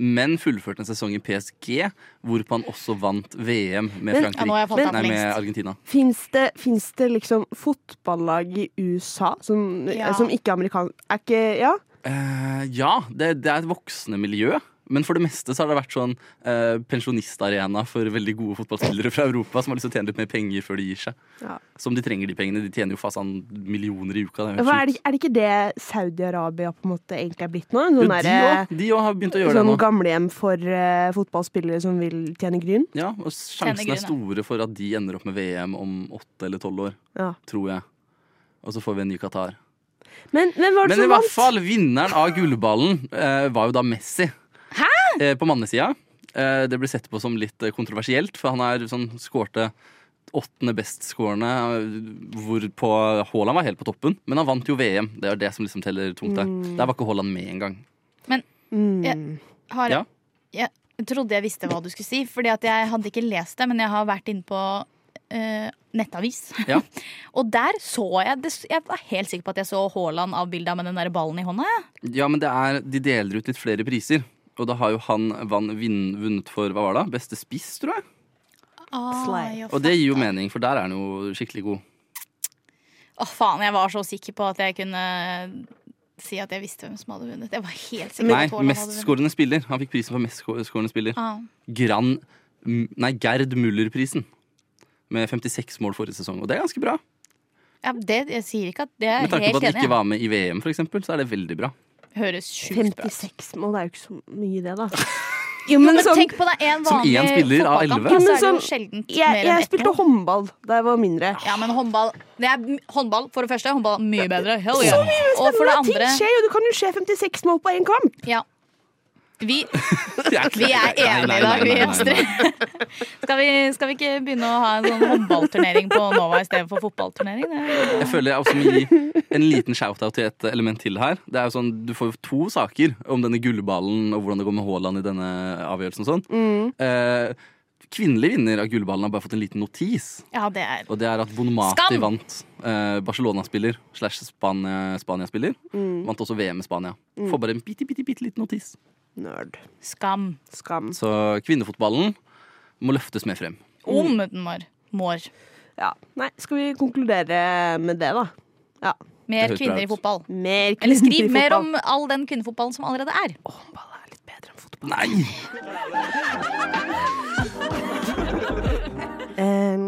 Speaker 3: men fullførte en sesong i PSG, hvorpå han også vant VM med,
Speaker 1: Men-
Speaker 2: Ja, nå har
Speaker 3: Frankrike,
Speaker 2: jeg falt av
Speaker 3: nei,
Speaker 2: for
Speaker 3: med
Speaker 2: lengst.
Speaker 3: Argentina.
Speaker 1: Fins det, finnes det liksom fotballag i USA som,
Speaker 2: Ja.
Speaker 1: som ikke er amerikansk Er ikke Ja?
Speaker 3: Eh, ja, det, det er et voksende miljø. Men for det meste så har det vært sånn eh, pensjonistarena for veldig gode fotballspillere fra Europa som har lyst til å tjene litt mer penger før de gir seg.
Speaker 1: Ja.
Speaker 3: Som de trenger de pengene. De tjener jo fasan millioner i uka. Det er jo
Speaker 1: Hva, er,
Speaker 3: helt
Speaker 1: det, er det ikke det Saudi-Arabia på en måte egentlig er blitt nå? En
Speaker 3: sjukt. Jo,
Speaker 1: sånn
Speaker 3: de
Speaker 1: derre-
Speaker 3: òg- de òg har begynt å gjøre det
Speaker 1: Sånn
Speaker 3: nå.
Speaker 1: gamlehjem for eh, fotballspillere som vil tjene gryn?
Speaker 3: Ja, og Sjansene er store for at de ender opp med VM om åtte eller tolv år,
Speaker 1: Ja.
Speaker 3: tror jeg. Og så får vi en ny Qatar.
Speaker 1: Men hvem var det
Speaker 3: Men i
Speaker 1: som
Speaker 3: hvert
Speaker 1: vant?
Speaker 3: fall, vinneren av gullballen eh, var jo da Messi. Eh, på mannesida. Eh, det ble sett på som litt eh, kontroversielt, for han er sånn skårte åttende bestskårende, eh, hvorpå Haaland var helt på toppen. Men han vant jo VM. Det er det som liksom teller tungt der.
Speaker 1: Mm.
Speaker 3: Der var ikke Haaland med engang.
Speaker 2: Har,
Speaker 3: Ja.
Speaker 2: Jeg trodde jeg visste hva du skulle si, Fordi at jeg hadde ikke lest det, men jeg har vært inne på eh, nettavis.
Speaker 3: Ja.
Speaker 2: og der så jeg det, Jeg var helt sikker på at jeg så Haaland avbilda med den der ballen i hånda. jeg.
Speaker 3: Ja, men det er, de deler ut litt flere priser. Og da har jo han vann, vinn, vunnet for hva var det? beste spiss, tror jeg.
Speaker 1: Slay.
Speaker 2: jeg
Speaker 3: Og det gir jo mening, for der er han jo skikkelig god.
Speaker 2: Å, faen, jeg var så sikker på at jeg kunne eh, si at jeg visste hvem som hadde vunnet. Jeg var helt sikker på
Speaker 3: Nei,
Speaker 2: at Haaland hadde vunnet.
Speaker 3: mestskårende spiller. Han fikk prisen for mestskårende spiller.
Speaker 2: Ah.
Speaker 3: Gran, m- nei, Gerd Muller-prisen. Med 56 mål forrige sesong, og det er ganske bra.
Speaker 2: Ja, det, jeg sier ikke at det er
Speaker 3: Med tanke
Speaker 2: helt
Speaker 3: på at han
Speaker 2: enig.
Speaker 3: ikke var med i VM, for eksempel, så er det veldig bra.
Speaker 2: jeg. Høres sjukt bra ut.
Speaker 1: 56 mål, det er jo ikke så mye, det, da.
Speaker 2: Jo, men
Speaker 1: sånn-
Speaker 2: tenk på det er en
Speaker 3: Som
Speaker 2: vanlig
Speaker 3: én spiller av
Speaker 2: fotballkamp,
Speaker 3: elleve.
Speaker 2: da,
Speaker 1: Jo, men
Speaker 2: Så er det jo
Speaker 1: sånn-
Speaker 2: sjelden
Speaker 1: Jeg,
Speaker 2: mer enn
Speaker 1: jeg
Speaker 2: ett
Speaker 1: spilte
Speaker 2: mål.
Speaker 1: håndball da jeg var mindre.
Speaker 2: Ja, men håndball det er m- Håndball, for det første, er håndball mye bedre. Hell yeah. Og for det
Speaker 1: Men ting
Speaker 2: andre
Speaker 1: skjer jo, det kan jo skje 56 mål på én kamp!
Speaker 2: ja. vi,
Speaker 3: Vi er
Speaker 2: vi er enige i dag, vi Hemstre. Skal, vi- skal vi ikke begynne å ha en sånn håndballturnering på Nova i stedet for fotballturnering? Det-
Speaker 3: Jeg føler jeg også må gi en liten shout-out til et element til her. Det er jo sånn, Du får jo to saker om denne gullballen og hvordan det går med Haaland i denne avgjørelsen. og sånn. Eh, kvinnelig vinner av gullballen har bare fått en liten notis.
Speaker 2: Ja, det er
Speaker 3: Og det er at Bonmati
Speaker 2: Skam!
Speaker 3: vant. Eh, Barcelona-spiller slash Spania- Spania-spiller. Vant også VM i Spania. Får bare en bitte, bitte, bitte liten notis.
Speaker 1: Nerd.
Speaker 2: skam.
Speaker 1: Skam.
Speaker 3: Så kvinnefotballen må løftes mer frem.
Speaker 2: Om den var mår.
Speaker 1: Ja. Nei, skal vi konkludere med det, da? Ja.
Speaker 3: Det
Speaker 2: Mer
Speaker 3: høres bra
Speaker 2: kvinner i
Speaker 3: ut.
Speaker 2: fotball.
Speaker 1: Mer
Speaker 2: Eller
Speaker 1: kvinner i
Speaker 2: skriv mer
Speaker 1: fotball.
Speaker 2: om all den kvinnefotballen som allerede er.
Speaker 1: Håndball er litt bedre enn fotball.
Speaker 3: Nei!
Speaker 1: Eh,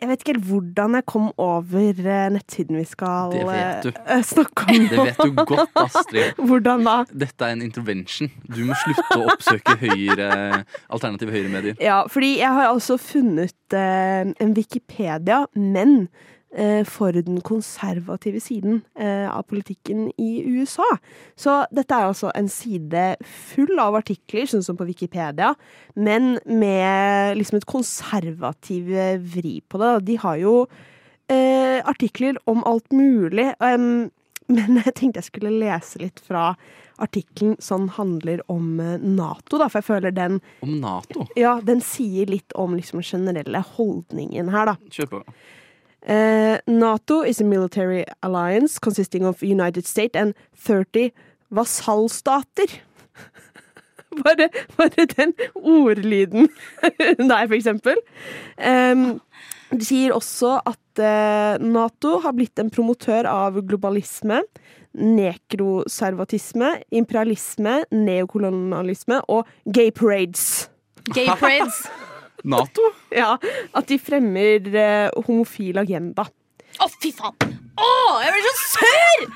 Speaker 1: jeg vet ikke helt hvordan jeg kom over eh, nettsiden vi skal
Speaker 3: Det vet du.
Speaker 1: eh, eh, snakke om.
Speaker 3: Det vet du godt, Astrid.
Speaker 1: Hvordan da?
Speaker 3: Dette er en intervention. Du må slutte å oppsøke høyre, alternative høyremedier.
Speaker 1: Ja, fordi jeg har altså funnet eh, en Wikipedia, men eh, for den konservative siden eh, av politikken i USA. Så dette er altså en side full av artikler, sånn som på Wikipedia, men med liksom et konservativ eh, vri på det. De har jo eh, artikler om alt mulig. em, men jeg tenkte jeg skulle lese litt fra artikkelen som handler om eh, Nato, da, for jeg føler den
Speaker 3: Om Nato.
Speaker 1: ja, den sier litt om liksom generelle holdningen her, da.
Speaker 3: Kjør på.
Speaker 1: Eh, NATO is a military alliance consisting of United States and 30 vasallstater. Bare, bare den ordlyden der, for eksempel. Em, de sier også at eh, Nato har blitt en promotør av globalisme, nekroservatisme, imperialisme, neokolonialisme og gay parades.
Speaker 2: Gay parades.
Speaker 3: Nato?
Speaker 1: Ja, at de fremmer eh, homofil agenda.
Speaker 2: Å, fy faen! Å, jeg blir så sur!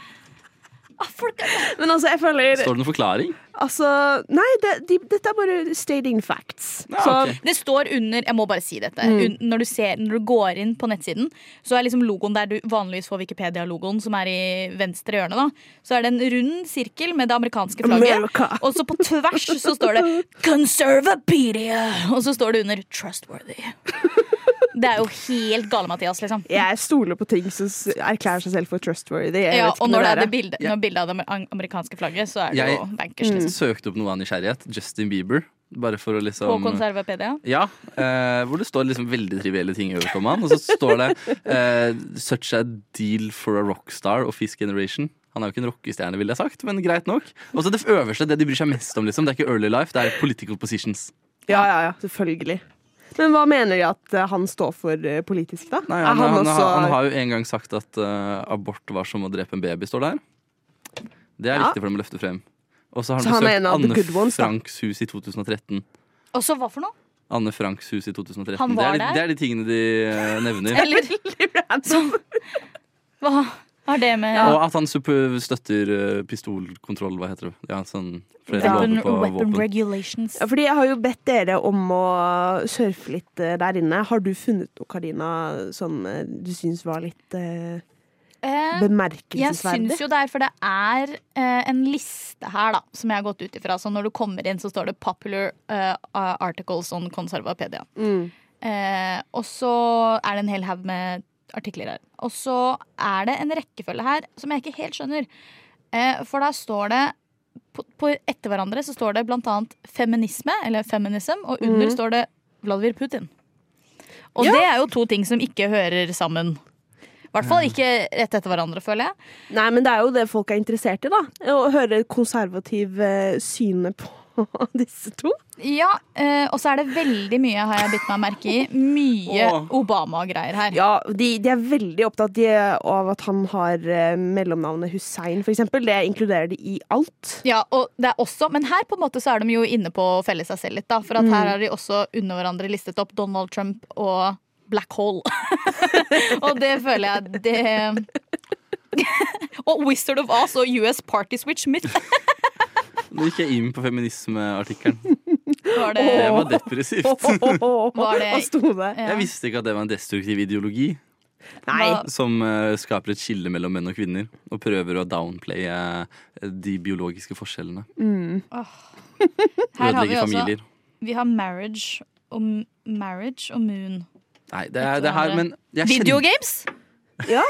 Speaker 2: Å, folk er
Speaker 1: Men altså, jeg føler
Speaker 3: Står det noen forklaring?
Speaker 1: altså, Nei, det, de, dette er bare stating facts.
Speaker 3: Ja,
Speaker 1: Så-
Speaker 3: Ah, ok.
Speaker 2: Det står under Jeg må bare si dette. Un, når, du ser, når du går inn på nettsiden, så er liksom logoen der du vanligvis får Wikipedia-logoen, som er i venstre hjørne, da, så er det en rund sirkel med det amerikanske flagget.
Speaker 1: America.
Speaker 2: Og så på tvers så står det 'Conservapedia'! Og så står det under 'Trustworthy'. Det er jo helt gale, Mathias, liksom.
Speaker 1: Jeg stoler på ting som s- erklærer seg selv for trustworthy. Jeg
Speaker 2: Ja,
Speaker 1: vet ikke
Speaker 2: og
Speaker 1: med
Speaker 2: når det er
Speaker 1: dere.
Speaker 2: det bildet, når bildet av det amer- amerikanske flagget, så er det
Speaker 3: Jeg-
Speaker 2: jo bankers, liksom.
Speaker 3: Søkte opp noe av nysgjerrighet. Justin Bieber. Bare for å liksom
Speaker 2: På Conservapedia.
Speaker 3: Ja, eh, hvor det står liksom veldig trivielle ting øverst om han. Og så står det eh, 'Such a deal for a rockstar' og 'Fish Generation'. Han er jo ikke en rockestjerne, ville jeg sagt, men greit nok. Og så det øverste, det de bryr seg mest om, liksom, det er ikke early life, det er political positions.
Speaker 1: Ja, ja, ja, selvfølgelig. Men hva mener de at eh, han står for eh, politisk, da?
Speaker 3: Nei,
Speaker 1: Er
Speaker 3: han, han,
Speaker 1: også-
Speaker 3: har, han har jo en gang sagt at eh, abort var som å drepe en baby, står det her. Det er
Speaker 1: Ja.
Speaker 3: viktig for dem å løfte frem. Og så har
Speaker 1: Så han
Speaker 3: han
Speaker 1: er en
Speaker 3: besøkt
Speaker 1: av the
Speaker 3: Anne
Speaker 1: good ones, da.
Speaker 3: Franks hus i 2013.
Speaker 2: Og så hva for noe?
Speaker 3: Anne Franks hus i 2013.
Speaker 2: Han var
Speaker 3: det, er de,
Speaker 2: der?
Speaker 3: det er de tingene de eh, nevner.
Speaker 2: Eller hva har det med
Speaker 3: Og at han sup- støtter eh, pistolkontroll, hva heter det. Ja, sånn flere
Speaker 2: weapon,
Speaker 3: lover på
Speaker 2: weapon
Speaker 3: våpen.
Speaker 2: regulations?
Speaker 1: Ja, fordi jeg har jo bedt dere om å surfe litt eh, der inne. Har du funnet noe, Karina, som eh, du syns var litt eh,
Speaker 2: Eh, Jeg
Speaker 1: bemerkelsesverdig?
Speaker 2: syns jo det er, for det er eh, en liste her da, som jeg har gått ut ifra. Så når du kommer inn, så står det 'Popular eh, articles on Conservapedia'.
Speaker 1: Mm.
Speaker 2: Eh, og så er det en hel haug med artikler her. Og så er det en rekkefølge her som jeg ikke helt skjønner. Eh, for da står det på, på Etter hverandre så står det blant annet feminisme, eller feminism, og under står det Vladimir Putin. Og det er jo to ting som ikke hører sammen. I hvert fall ikke rett etter hverandre, føler jeg.
Speaker 1: Nei, men det er jo det folk er interessert i, da. Å høre konservativ eh, syne på disse to.
Speaker 2: Ja, eh, Og så er det veldig mye har jeg bitt meg merke i. Mye
Speaker 3: Åh.
Speaker 2: Obama-greier her.
Speaker 1: Ja, de, de er veldig opptatt de, av at han har eh, mellomnavnet Hussein, for eksempel. Det inkluderer de i alt.
Speaker 2: Ja, og det er også, Men her på en måte så er de jo inne på å felle seg selv litt. da, For at her
Speaker 3: Mm.
Speaker 2: har de også under hverandre listet opp Donald Trump og Black Hole. og det føler jeg det Og Wizard of Oz og US Party Switch Myth
Speaker 3: Nå gikk jeg inn på feminismeartikkelen.
Speaker 2: var det.
Speaker 3: Det var depressivt.
Speaker 2: Var det-
Speaker 1: Hva sto det?
Speaker 2: Ja.
Speaker 3: Jeg visste ikke at det var en destruktiv ideologi
Speaker 1: Nei.
Speaker 2: Hva-
Speaker 3: som eh, skaper et skille mellom menn og kvinner. Og prøver å downplaye eh, de biologiske forskjellene.
Speaker 2: Her har vi
Speaker 3: Ødelegge
Speaker 2: også
Speaker 3: familier.
Speaker 2: Vi har Marriage og, marriage og Moon.
Speaker 3: Nei, det er det er
Speaker 2: eh,
Speaker 3: her, men jeg kjenner,
Speaker 2: Videogames!
Speaker 1: Ja.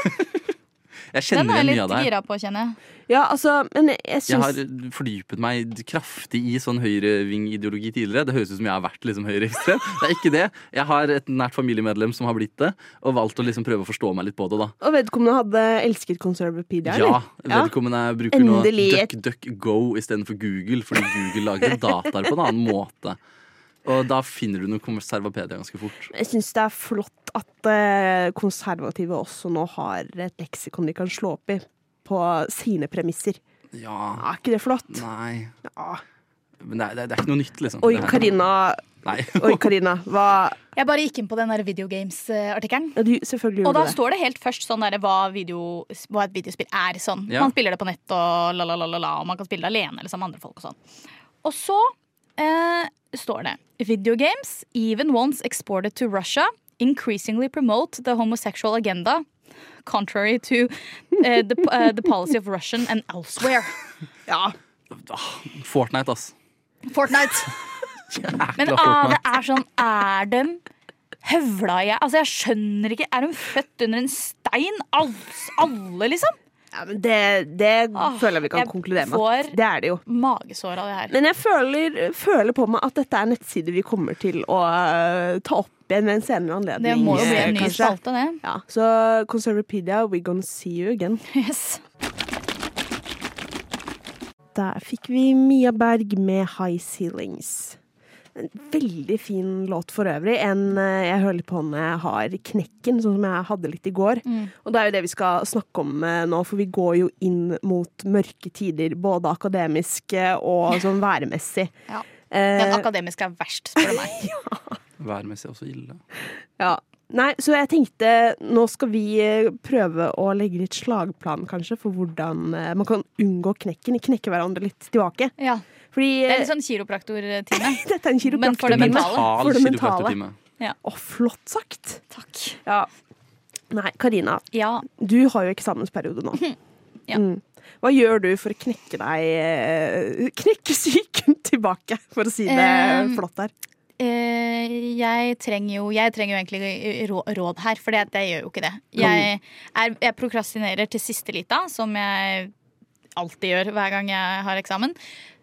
Speaker 3: jeg
Speaker 2: Den
Speaker 3: kjenner
Speaker 2: er jeg
Speaker 3: igjen mye
Speaker 2: litt
Speaker 3: av det her.
Speaker 2: gira på, kjenner jeg.
Speaker 1: ja, altså, men jeg
Speaker 3: Jeg
Speaker 1: syns
Speaker 3: har fordypet meg kraftig i sånn høyreving-ideologi tidligere. Det høres ut som jeg har vært liksom høyreekstrem. Det er ikke det. Jeg har et nært familiemedlem som har blitt det, og valgt å liksom prøve å forstå meg litt på det. da.
Speaker 1: Og vedkommende hadde elsket Conservapedia,
Speaker 3: Ja,
Speaker 1: eller?
Speaker 3: velkommen. Jeg bruker nå
Speaker 1: Endelig et-
Speaker 3: DuckDuckGo istedenfor Google, fordi Google lager dataer på en annen måte. Og da finner du noe konservapedia ganske fort.
Speaker 1: Jeg syns det er flott at eh, konservative også nå har et leksikon de kan slå opp i. På sine premisser.
Speaker 3: Ja,
Speaker 1: Er ikke det flott?
Speaker 3: nei
Speaker 1: Ja.
Speaker 3: Men det er, det er- det er ikke noe nytt, liksom.
Speaker 1: Oi,
Speaker 3: Det her-
Speaker 1: Karina.
Speaker 3: Nei.
Speaker 1: Oi, Karina. Hva
Speaker 2: Jeg bare gikk inn på den der videogames-artikkelen.
Speaker 1: ja, Du selvfølgelig
Speaker 2: Og
Speaker 1: gjorde
Speaker 2: da
Speaker 1: det.
Speaker 2: står det helt først sånn der, hva, video, hva et videospill er. Sånn.
Speaker 3: Ja.
Speaker 2: Man spiller det på nett, og, la, la, la, la, la, og man kan spille det alene eller sammen med andre folk. Og, sånn. og så eh, står det Videogames, even once exported to Russia, increasingly promote the homosexual agenda. Contrary to eh, the, eh, the policy of Russian and elsewhere.
Speaker 3: Ah, Fortnite, ass.
Speaker 2: Fortnite. Men
Speaker 3: Jækla
Speaker 2: ah, det
Speaker 3: Fortnite.
Speaker 2: er sånn Er dem høvla jeg Altså, jeg skjønner ikke. Er de født under en stein? Alle, alle liksom?
Speaker 1: Ja, men det det
Speaker 2: Åh,
Speaker 1: føler jeg vi kan
Speaker 2: jeg
Speaker 1: konkludere med. at
Speaker 2: får-
Speaker 1: Det er det jo.
Speaker 2: magesår av det her.
Speaker 1: Men jeg føler, føler på meg at dette er nettsider vi kommer til å eh, ta opp igjen ved en senere
Speaker 2: det
Speaker 1: anledning.
Speaker 2: må jo bli
Speaker 1: eh,
Speaker 2: en ny
Speaker 1: kanskje.
Speaker 2: spalte, det.
Speaker 1: Ja, så Conservapedia, we gonna see you again.
Speaker 2: Yes.
Speaker 1: Der fikk vi Mia Berg med High Ceilings. En veldig fin låt for øvrig. En eh, jeg hører litt på når jeg har knekken, sånn som jeg hadde litt i går.
Speaker 2: Mm.
Speaker 1: Og det er jo det vi skal snakke om eh, nå, for vi går jo inn mot mørke tider. Både akademisk eh, og sånn væremessig.
Speaker 2: Ja. Den
Speaker 1: Eh,
Speaker 2: akademiske er verst, spør du meg.
Speaker 3: Værmessig også ille.
Speaker 1: ja. Nei, så jeg tenkte nå skal vi eh, prøve å legge litt slagplan, kanskje, for hvordan eh, man kan unngå knekken. Knekke hverandre litt tilbake.
Speaker 2: Ja.
Speaker 1: Fordi
Speaker 2: Det er
Speaker 1: eh,
Speaker 2: litt sånn kiropraktortime.
Speaker 1: dette er en
Speaker 2: Men for det
Speaker 1: kiropraktortime.
Speaker 2: mentale.
Speaker 3: Mental
Speaker 1: For det mentale.
Speaker 3: kiropraktortime.
Speaker 1: Å, flott sagt.
Speaker 2: Takk.
Speaker 1: Ja. Nei, Karina,
Speaker 2: Ja.
Speaker 1: du har jo eksamensperiode nå.
Speaker 2: Mhm. Ja.
Speaker 1: Mm. Hva gjør du for å knekke deg eh, Knekke psyken tilbake, for å si det
Speaker 2: Um,
Speaker 1: flott her.
Speaker 2: Eh, jeg trenger jo Jeg trenger jo egentlig eh, rå- råd her, for jeg gjør jo ikke det. Jeg, er, jeg prokrastinerer til siste lita, som jeg alltid gjør hver gang jeg har eksamen.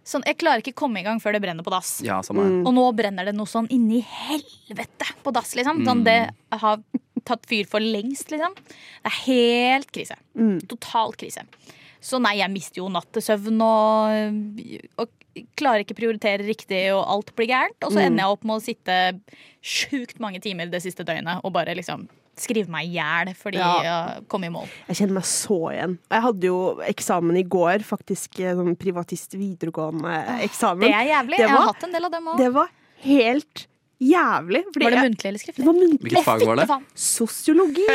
Speaker 2: Sånn, jeg klarer ikke komme i gang før det brenner på dass.
Speaker 3: Ja, samme her.
Speaker 1: Mm.
Speaker 2: Og nå brenner det noe sånn inni helvete på dass, liksom. Sånn, det har
Speaker 1: Mm.
Speaker 2: tatt fyr for lengst, liksom. Det er helt krise. Total krise. Så nei, jeg mister jo nattesøvn og, og klarer ikke prioritere riktig, og alt blir gærent. Og
Speaker 1: Mm.
Speaker 2: så ender jeg opp med å sitte sjukt mange timer det siste døgnet og bare liksom skrive meg i hjel fordi
Speaker 7: Ja.
Speaker 2: jeg kom i mål.
Speaker 1: Jeg kjenner meg så igjen. Og Jeg hadde jo eksamen i går, faktisk eh, sånn privatist videregående-eksamen.
Speaker 2: Det er jævlig.
Speaker 1: Det
Speaker 2: jeg har
Speaker 1: var,
Speaker 2: hatt en del av dem òg.
Speaker 1: det var helt jævlig. fordi
Speaker 2: Var det
Speaker 1: jeg-
Speaker 2: muntlig eller
Speaker 1: Det
Speaker 2: skriftlig?
Speaker 1: var muntlig.
Speaker 3: Hvilket fag var det?
Speaker 2: Å, faen.
Speaker 1: Sosiologi!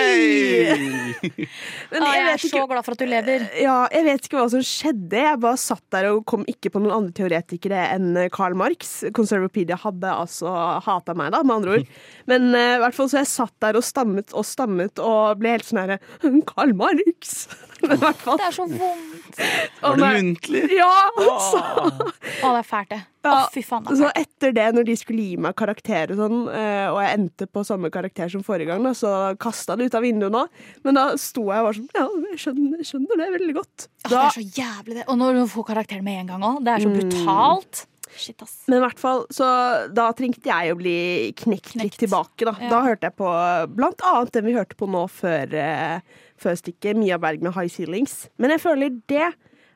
Speaker 1: Men
Speaker 2: Å,
Speaker 1: jeg
Speaker 2: jeg
Speaker 1: vet
Speaker 2: er
Speaker 1: ikke
Speaker 2: så glad for at du lever.
Speaker 1: ja, jeg vet ikke hva som skjedde. Jeg bare satt der og kom ikke på noen andre teoretikere enn eh, Karl Marx. Conservapedia hadde altså hata meg, da, med andre ord. Men eh, i hvert fall så jeg satt der og stammet og stammet og ble helt sånn herre Karl Marx! Men i hvert fall.
Speaker 2: Det er så vondt.
Speaker 3: Var det muntlig?
Speaker 1: Ja! Så,
Speaker 2: Å, det er fælt, det. Å,
Speaker 1: Ja,
Speaker 2: fy faen. altså. Det er
Speaker 1: så
Speaker 2: fælt.
Speaker 1: etter det, når de skulle gi meg karakterer og sånn, eh, og jeg endte på samme karakter som forrige gang, da, så kasta det ut av vinduet nå. Men da sto jeg og var sånn Ja, jeg skjønner, jeg skjønner det veldig godt.
Speaker 2: Å, Ah, det
Speaker 1: Da, Mm.
Speaker 2: er så jævlig, det. Og når du får karakter med en gang òg. Det er så brutalt. Shit, ass.
Speaker 1: men i hvert fall, så da trengte jeg å bli knekt, litt
Speaker 2: Knekt.
Speaker 1: tilbake, da.
Speaker 2: Ja.
Speaker 1: Da hørte jeg på blant annet den vi hørte på nå før, eh, før stikket, Mia Berg med High Ceilings. Men jeg føler det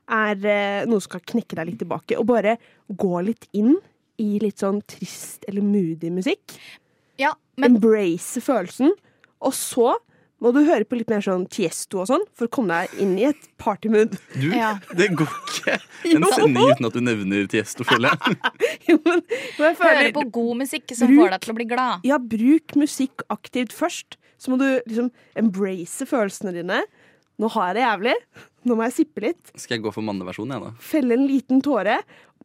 Speaker 1: er eh, noe som kan knekke deg litt tilbake, og bare gå litt inn i litt sånn trist eller moody musikk.
Speaker 2: Ja, men
Speaker 1: embrace følelsen. Og så må du høre på litt mer sånn Tiesto og sånn for å komme deg inn i et partymood.
Speaker 3: Du,
Speaker 2: Ja.
Speaker 3: det går ikke en
Speaker 1: Jo.
Speaker 3: sending uten at du nevner Tiesto, føler jeg.
Speaker 1: Jo, men- men jeg
Speaker 2: høre
Speaker 1: føler-
Speaker 2: på god musikk som
Speaker 1: Bruk-
Speaker 2: får deg til å bli glad.
Speaker 1: Ja, bruk musikk aktivt først. Så må du liksom embrace følelsene dine. Nå har jeg det jævlig. Nå må jeg sippe litt.
Speaker 3: Skal jeg gå for manneversjonen, jeg, da?
Speaker 1: Felle en liten tåre.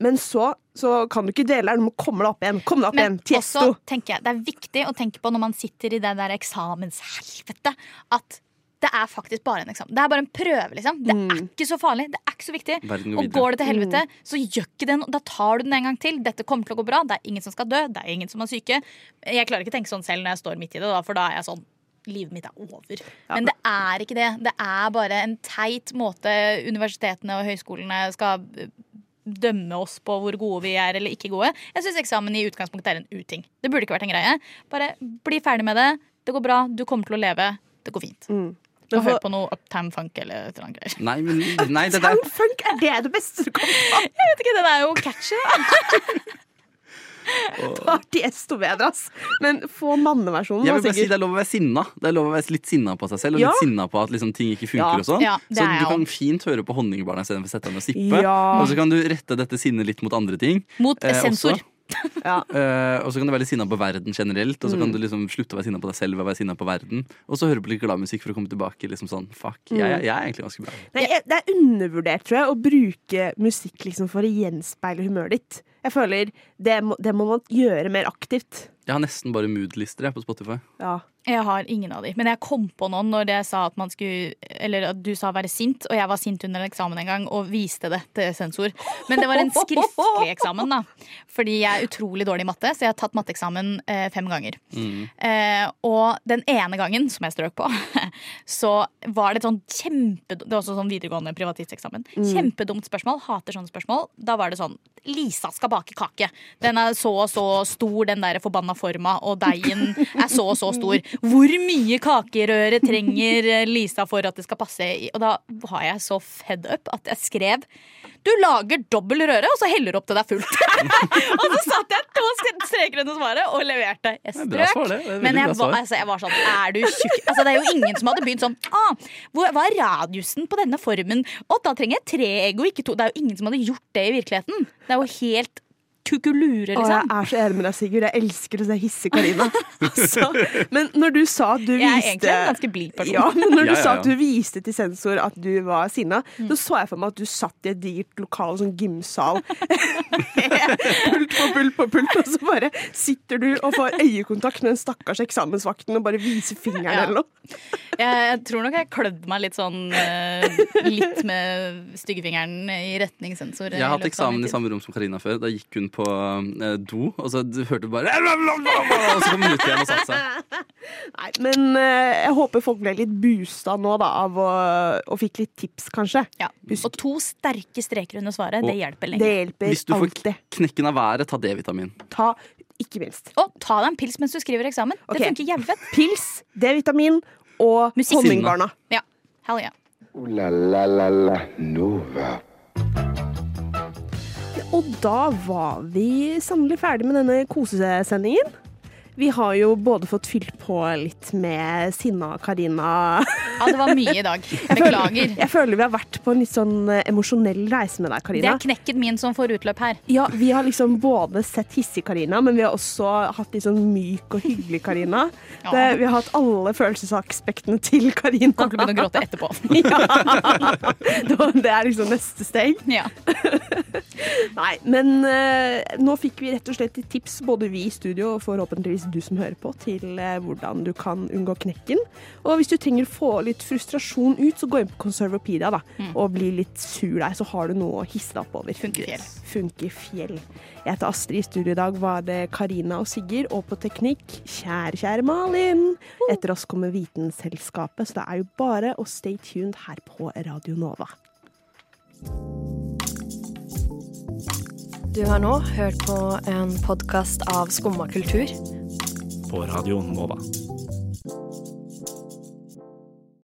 Speaker 1: Men så, så kan du ikke dele her. Du må komme deg opp igjen. Kom deg opp
Speaker 2: Men
Speaker 1: igjen. Tiesto.
Speaker 2: også tenker jeg, det er viktig å tenke på når man sitter i det der eksamenshelvete, at det er faktisk bare en eksamen. Det er bare en prøve, liksom. Det er ikke så farlig. Det er ikke så viktig.
Speaker 3: Verden går
Speaker 2: Og
Speaker 3: videre.
Speaker 2: går det til helvete, så gjør ikke det noe. Da tar du den en gang til. Dette kommer til å gå bra. Det er ingen som skal dø. Det er ingen som er syke. Jeg klarer ikke å tenke sånn selv når jeg står midt i det, da, for da er jeg sånn Livet mitt er over. Men det er ikke det. Det er bare en teit måte universitetene og høyskolene skal eh, dømme oss på hvor gode vi er eller ikke gode. Jeg syns eksamen i utgangspunktet er en uting. Det burde ikke vært en greie. Bare bli ferdig med det. Det går bra. Du kommer til å leve. Det går fint.
Speaker 1: Mm. Men
Speaker 2: Og hør
Speaker 1: for-
Speaker 2: på noe Uptime Funk eller et eller annet greier.
Speaker 3: Nei, men nei, det der
Speaker 1: Sound funk, er det det beste du kan få?
Speaker 2: Jeg vet ikke, Den er jo catchy,
Speaker 1: Eh,
Speaker 2: da.
Speaker 1: Da er Tiesto bedre, ass. Men få manneversjonen,
Speaker 3: jeg
Speaker 1: da,
Speaker 3: vil bare si
Speaker 1: Sigurd.
Speaker 3: Det er lov å være sinna Det er lov å være litt sinna på seg selv og
Speaker 1: Ja.
Speaker 3: litt sinna på at liksom, ting ikke funker.
Speaker 1: Ja.
Speaker 3: og sånn
Speaker 2: Ja, det
Speaker 3: Så
Speaker 2: er
Speaker 3: du
Speaker 2: jeg
Speaker 3: kan fint høre på honningbarna istedenfor å sette deg ned og sippe.
Speaker 1: Ja.
Speaker 3: Og så kan du rette dette sinnet litt mot andre ting.
Speaker 2: Mot
Speaker 3: eh,
Speaker 2: sensor.
Speaker 3: også. Eh, og så kan du være litt sinna på verden generelt, og så
Speaker 2: Mm.
Speaker 3: kan du liksom slutte å være sinna på deg selv og være sinna på verden. Og så høre på litt glad musikk for å komme tilbake liksom sånn fuck, jeg,
Speaker 2: Mm.
Speaker 3: jeg, jeg er egentlig ganske bra.
Speaker 1: Nei, jeg, det er undervurdert, tror jeg, å bruke musikk liksom for å gjenspeile humøret ditt. Jeg føler det må, det må man gjøre mer aktivt.
Speaker 3: Jeg har nesten bare mood-lister jeg, på Spotify.
Speaker 1: Ja.
Speaker 2: Jeg har ingen av de. Men jeg kom på noen når jeg sa at man skulle Eller at du sa være sint, og jeg var sint under en eksamen en gang og viste det til sensor. Men det var en skriftlig eksamen, da. Fordi jeg er utrolig dårlig i matte, så jeg har tatt matteeksamen eh, fem ganger. Eh, og den ene gangen, som jeg strøk på, så var det et sånn kjempe Det var også sånn videregående privatisteksamen. Kjempedumt spørsmål. Hater sånne spørsmål. Da var det sånn Lisa skal bake kake. Den er så og så stor, den der forbanna forma, og deigen er så og så stor. Hvor mye kakerøre trenger eh, Lisa for at det skal passe i Og da var jeg så fed up at jeg skrev du lager dobbel røre, og så heller du opp til det er fullt. og så satte jeg to streker under svaret og leverte. Jeg
Speaker 3: er bra
Speaker 2: strøk.
Speaker 3: svar, det. Det er veldig
Speaker 2: men jeg, var-
Speaker 3: bra svar.
Speaker 2: altså, jeg var sånn, er du tjukk? Altså, det er jo ingen som hadde begynt sånn, ah, hvor, hva er radiusen på denne formen? Og da trenger jeg tre egg og ikke to. Det er jo ingen som hadde gjort det i virkeligheten. Det er jo helt kukulure,
Speaker 1: Og jeg
Speaker 2: liksom.
Speaker 1: er så enig med deg, Sigurd. Jeg elsker å se hisse Karina. Altså, men når du sa at du
Speaker 2: Jeg er
Speaker 1: viste
Speaker 2: egentlig en ganske blid person.
Speaker 1: Ja, men når du
Speaker 3: Ja, ja,
Speaker 1: sa
Speaker 3: ja.
Speaker 1: at du viste til sensor at du var sinna,
Speaker 2: Mm.
Speaker 1: så så jeg for meg at du satt i et digert lokal, sånn gymsal. pult på pult på pult, og så bare sitter du og får øyekontakt med den stakkars eksamensvakten og bare viser fingeren
Speaker 2: Ja.
Speaker 1: eller noe.
Speaker 2: Jeg tror nok jeg klødde meg litt sånn, eh, litt med styggefingeren i retning sensor. eh,
Speaker 3: Jeg har hatt eksamen i samme rom som Karina før. Da gikk hun på eh, do, og så du hørte du bare Og så kom hun ut igjen og satte seg.
Speaker 1: Nei, men eh, jeg håper folk ble litt boosta nå, da, av å, og fikk litt tips, kanskje.
Speaker 2: Ja. Og to sterke streker under svaret, det hjelper
Speaker 1: Det
Speaker 2: lenge.
Speaker 1: hjelper
Speaker 3: Hvis du får
Speaker 1: alltid.
Speaker 3: knekken av været, ta D-vitamin.
Speaker 1: Ta, ikke minst.
Speaker 2: Og ta deg en pils mens du skriver eksamen.
Speaker 1: Ok.
Speaker 2: Det funker jævlig fett.
Speaker 1: Pils, D-vitamin og
Speaker 2: Musikk.
Speaker 1: honningbarna.
Speaker 2: Ja. Hell yeah.
Speaker 8: Ooh la la la la Nova.
Speaker 1: Og da var vi sannelig ferdig med denne kosesendingen. Vi har jo både fått fylt på litt med sinna Karina.
Speaker 2: Ja, det var mye i dag. Beklager.
Speaker 1: Jeg føler vi har vært på en litt sånn eh, emosjonell reise med deg,
Speaker 2: Det
Speaker 1: Karina.
Speaker 2: er knekket min som får utløp her.
Speaker 1: Ja, Vi har liksom både sett hissig Karina, men vi har også hatt litt sånn myk og hyggelig Karina.
Speaker 2: Ja.
Speaker 1: Det, vi har hatt alle følelsesaspektene til Karina.
Speaker 2: Kommer til å begynne å gråte etterpå.
Speaker 1: Ja. Det var- Det er liksom neste steg.
Speaker 2: Ja.
Speaker 1: Nei, men eh, nå fikk vi rett og slett et tips, både vi i studio og forhåpentligvis du som hører på, til eh, hvordan du kan unngå knekken. Og hvis du trenger å få litt frustrasjon ut, så gå inn på Conservapedia da, og bli litt sur der, så har du noe å hisse deg opp over.
Speaker 2: Funkefjell.
Speaker 1: Funkefjell. Jeg heter Astrid. I studio i dag var det Karina og Sigurd, og på teknikk kjære, kjære Malin. Etter oss kommer Vitenselskapet, så det er jo bare å stay tuned her på Radio Nova.
Speaker 9: Du har nå hørt på en podkast av Skumma kultur.
Speaker 5: På Radio Nova.